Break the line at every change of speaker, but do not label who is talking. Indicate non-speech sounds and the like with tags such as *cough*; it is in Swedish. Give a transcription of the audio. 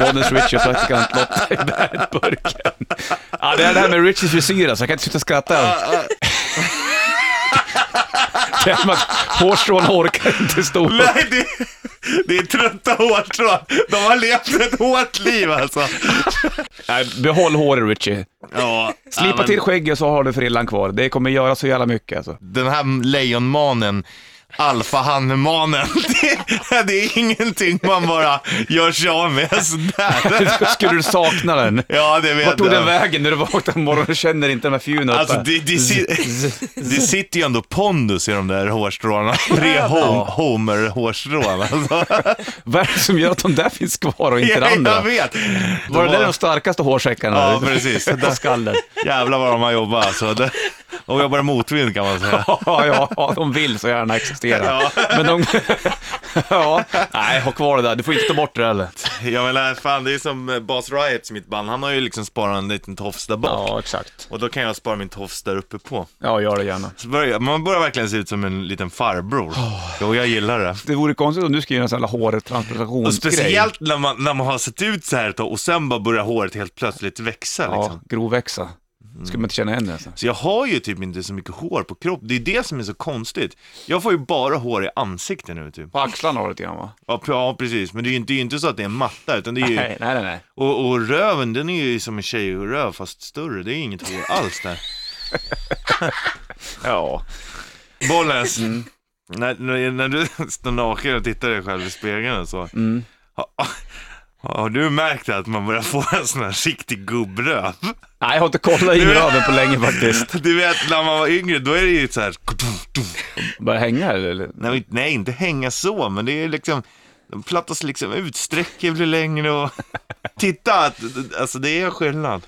Bonus Richie och så ska han Lotta i bärburken. Ja, det är det här med Richies frisyr alltså, jag kan inte sluta skratta. Det är som att hårstrån orkar inte stå upp.
Nej, det, det är trötta hårstrån. De har levt ett hårt liv alltså.
Nej, behåll håret Richie.
Ja,
Slipa
ja, men
till skägget så har du frillan kvar. Det kommer göra så jävla mycket
*laughs*
alltså.
Den här lejonmanen, alfahannemanen, *laughs* det, det är ingenting man bara gör sig av med sådär.
*laughs* Skulle du sakna den?
Ja, det vet
Vart tog
jag.
den vägen när du vaknar på morgonen och känner inte de här fjun
Alltså det, det, si-
*laughs*
det sitter ju ändå pondus i de där hårstråna. Tre hom- Homer-hårstrån alltså.
Vad är det som gör att de där finns kvar och *laughs* inte det andra?
Jag vet.
Var det där
De
de starkaste hårsäckarna?
Ja, precis.
*laughs* På skallen.
Jävlar vad de har jobbat alltså. De- De jobbar i motvind kan man säga.
Ja, ja, ja, de vill så gärna existera.
Ja.
Men de... Ja, nej, ha kvar det där. Du får inte ta bort det heller.
Jag menar, fan det är som eh, Bas Riots, mitt band. Han har ju liksom sparat en liten tofs där bak.
exakt.
Och då kan jag spara min tofs där uppe på.
Ja, gör det gärna.
Så börjar, man börjar verkligen se ut som en liten farbror. Jo, jag gillar det.
Det vore konstigt om du skulle göra en sån här hårtransplantationsgrej.
Och speciellt när man, när man har sett ut så här ett tag och sen bara börjar håret helt plötsligt växa liksom. Mm.
Ja, grovväxa. Skulle man inte känna igen det alltså.
Så jag har ju typ inte så mycket hår på kroppen, det är det som är så konstigt. Jag får ju bara hår i ansiktet nu typ.
På axlarna har du lite grann va?
Ja, p- ja precis, men det är ju inte, det är ju inte så att det är en matta utan det är ju,
Nej, nej, nej.
och, och röven den är ju som en tjejröv fast större, det är inget hår alls där.
Ja.
Bollnäs, när, när, när du står naken och tittar dig själv i spegeln och så. Har, har du märkt att man börjar få en sån här riktig gubbröv?
Nej, jag har inte kollat in röven på länge faktiskt.
*laughs* Du vet när man var yngre, då är det ju så här.
Börjar hänga här, eller?
Nej, inte- nej inte hänga så, men det är liksom, de plattas liksom ut, sträcker blir längre och... Titta, att- alltså det är skillnad.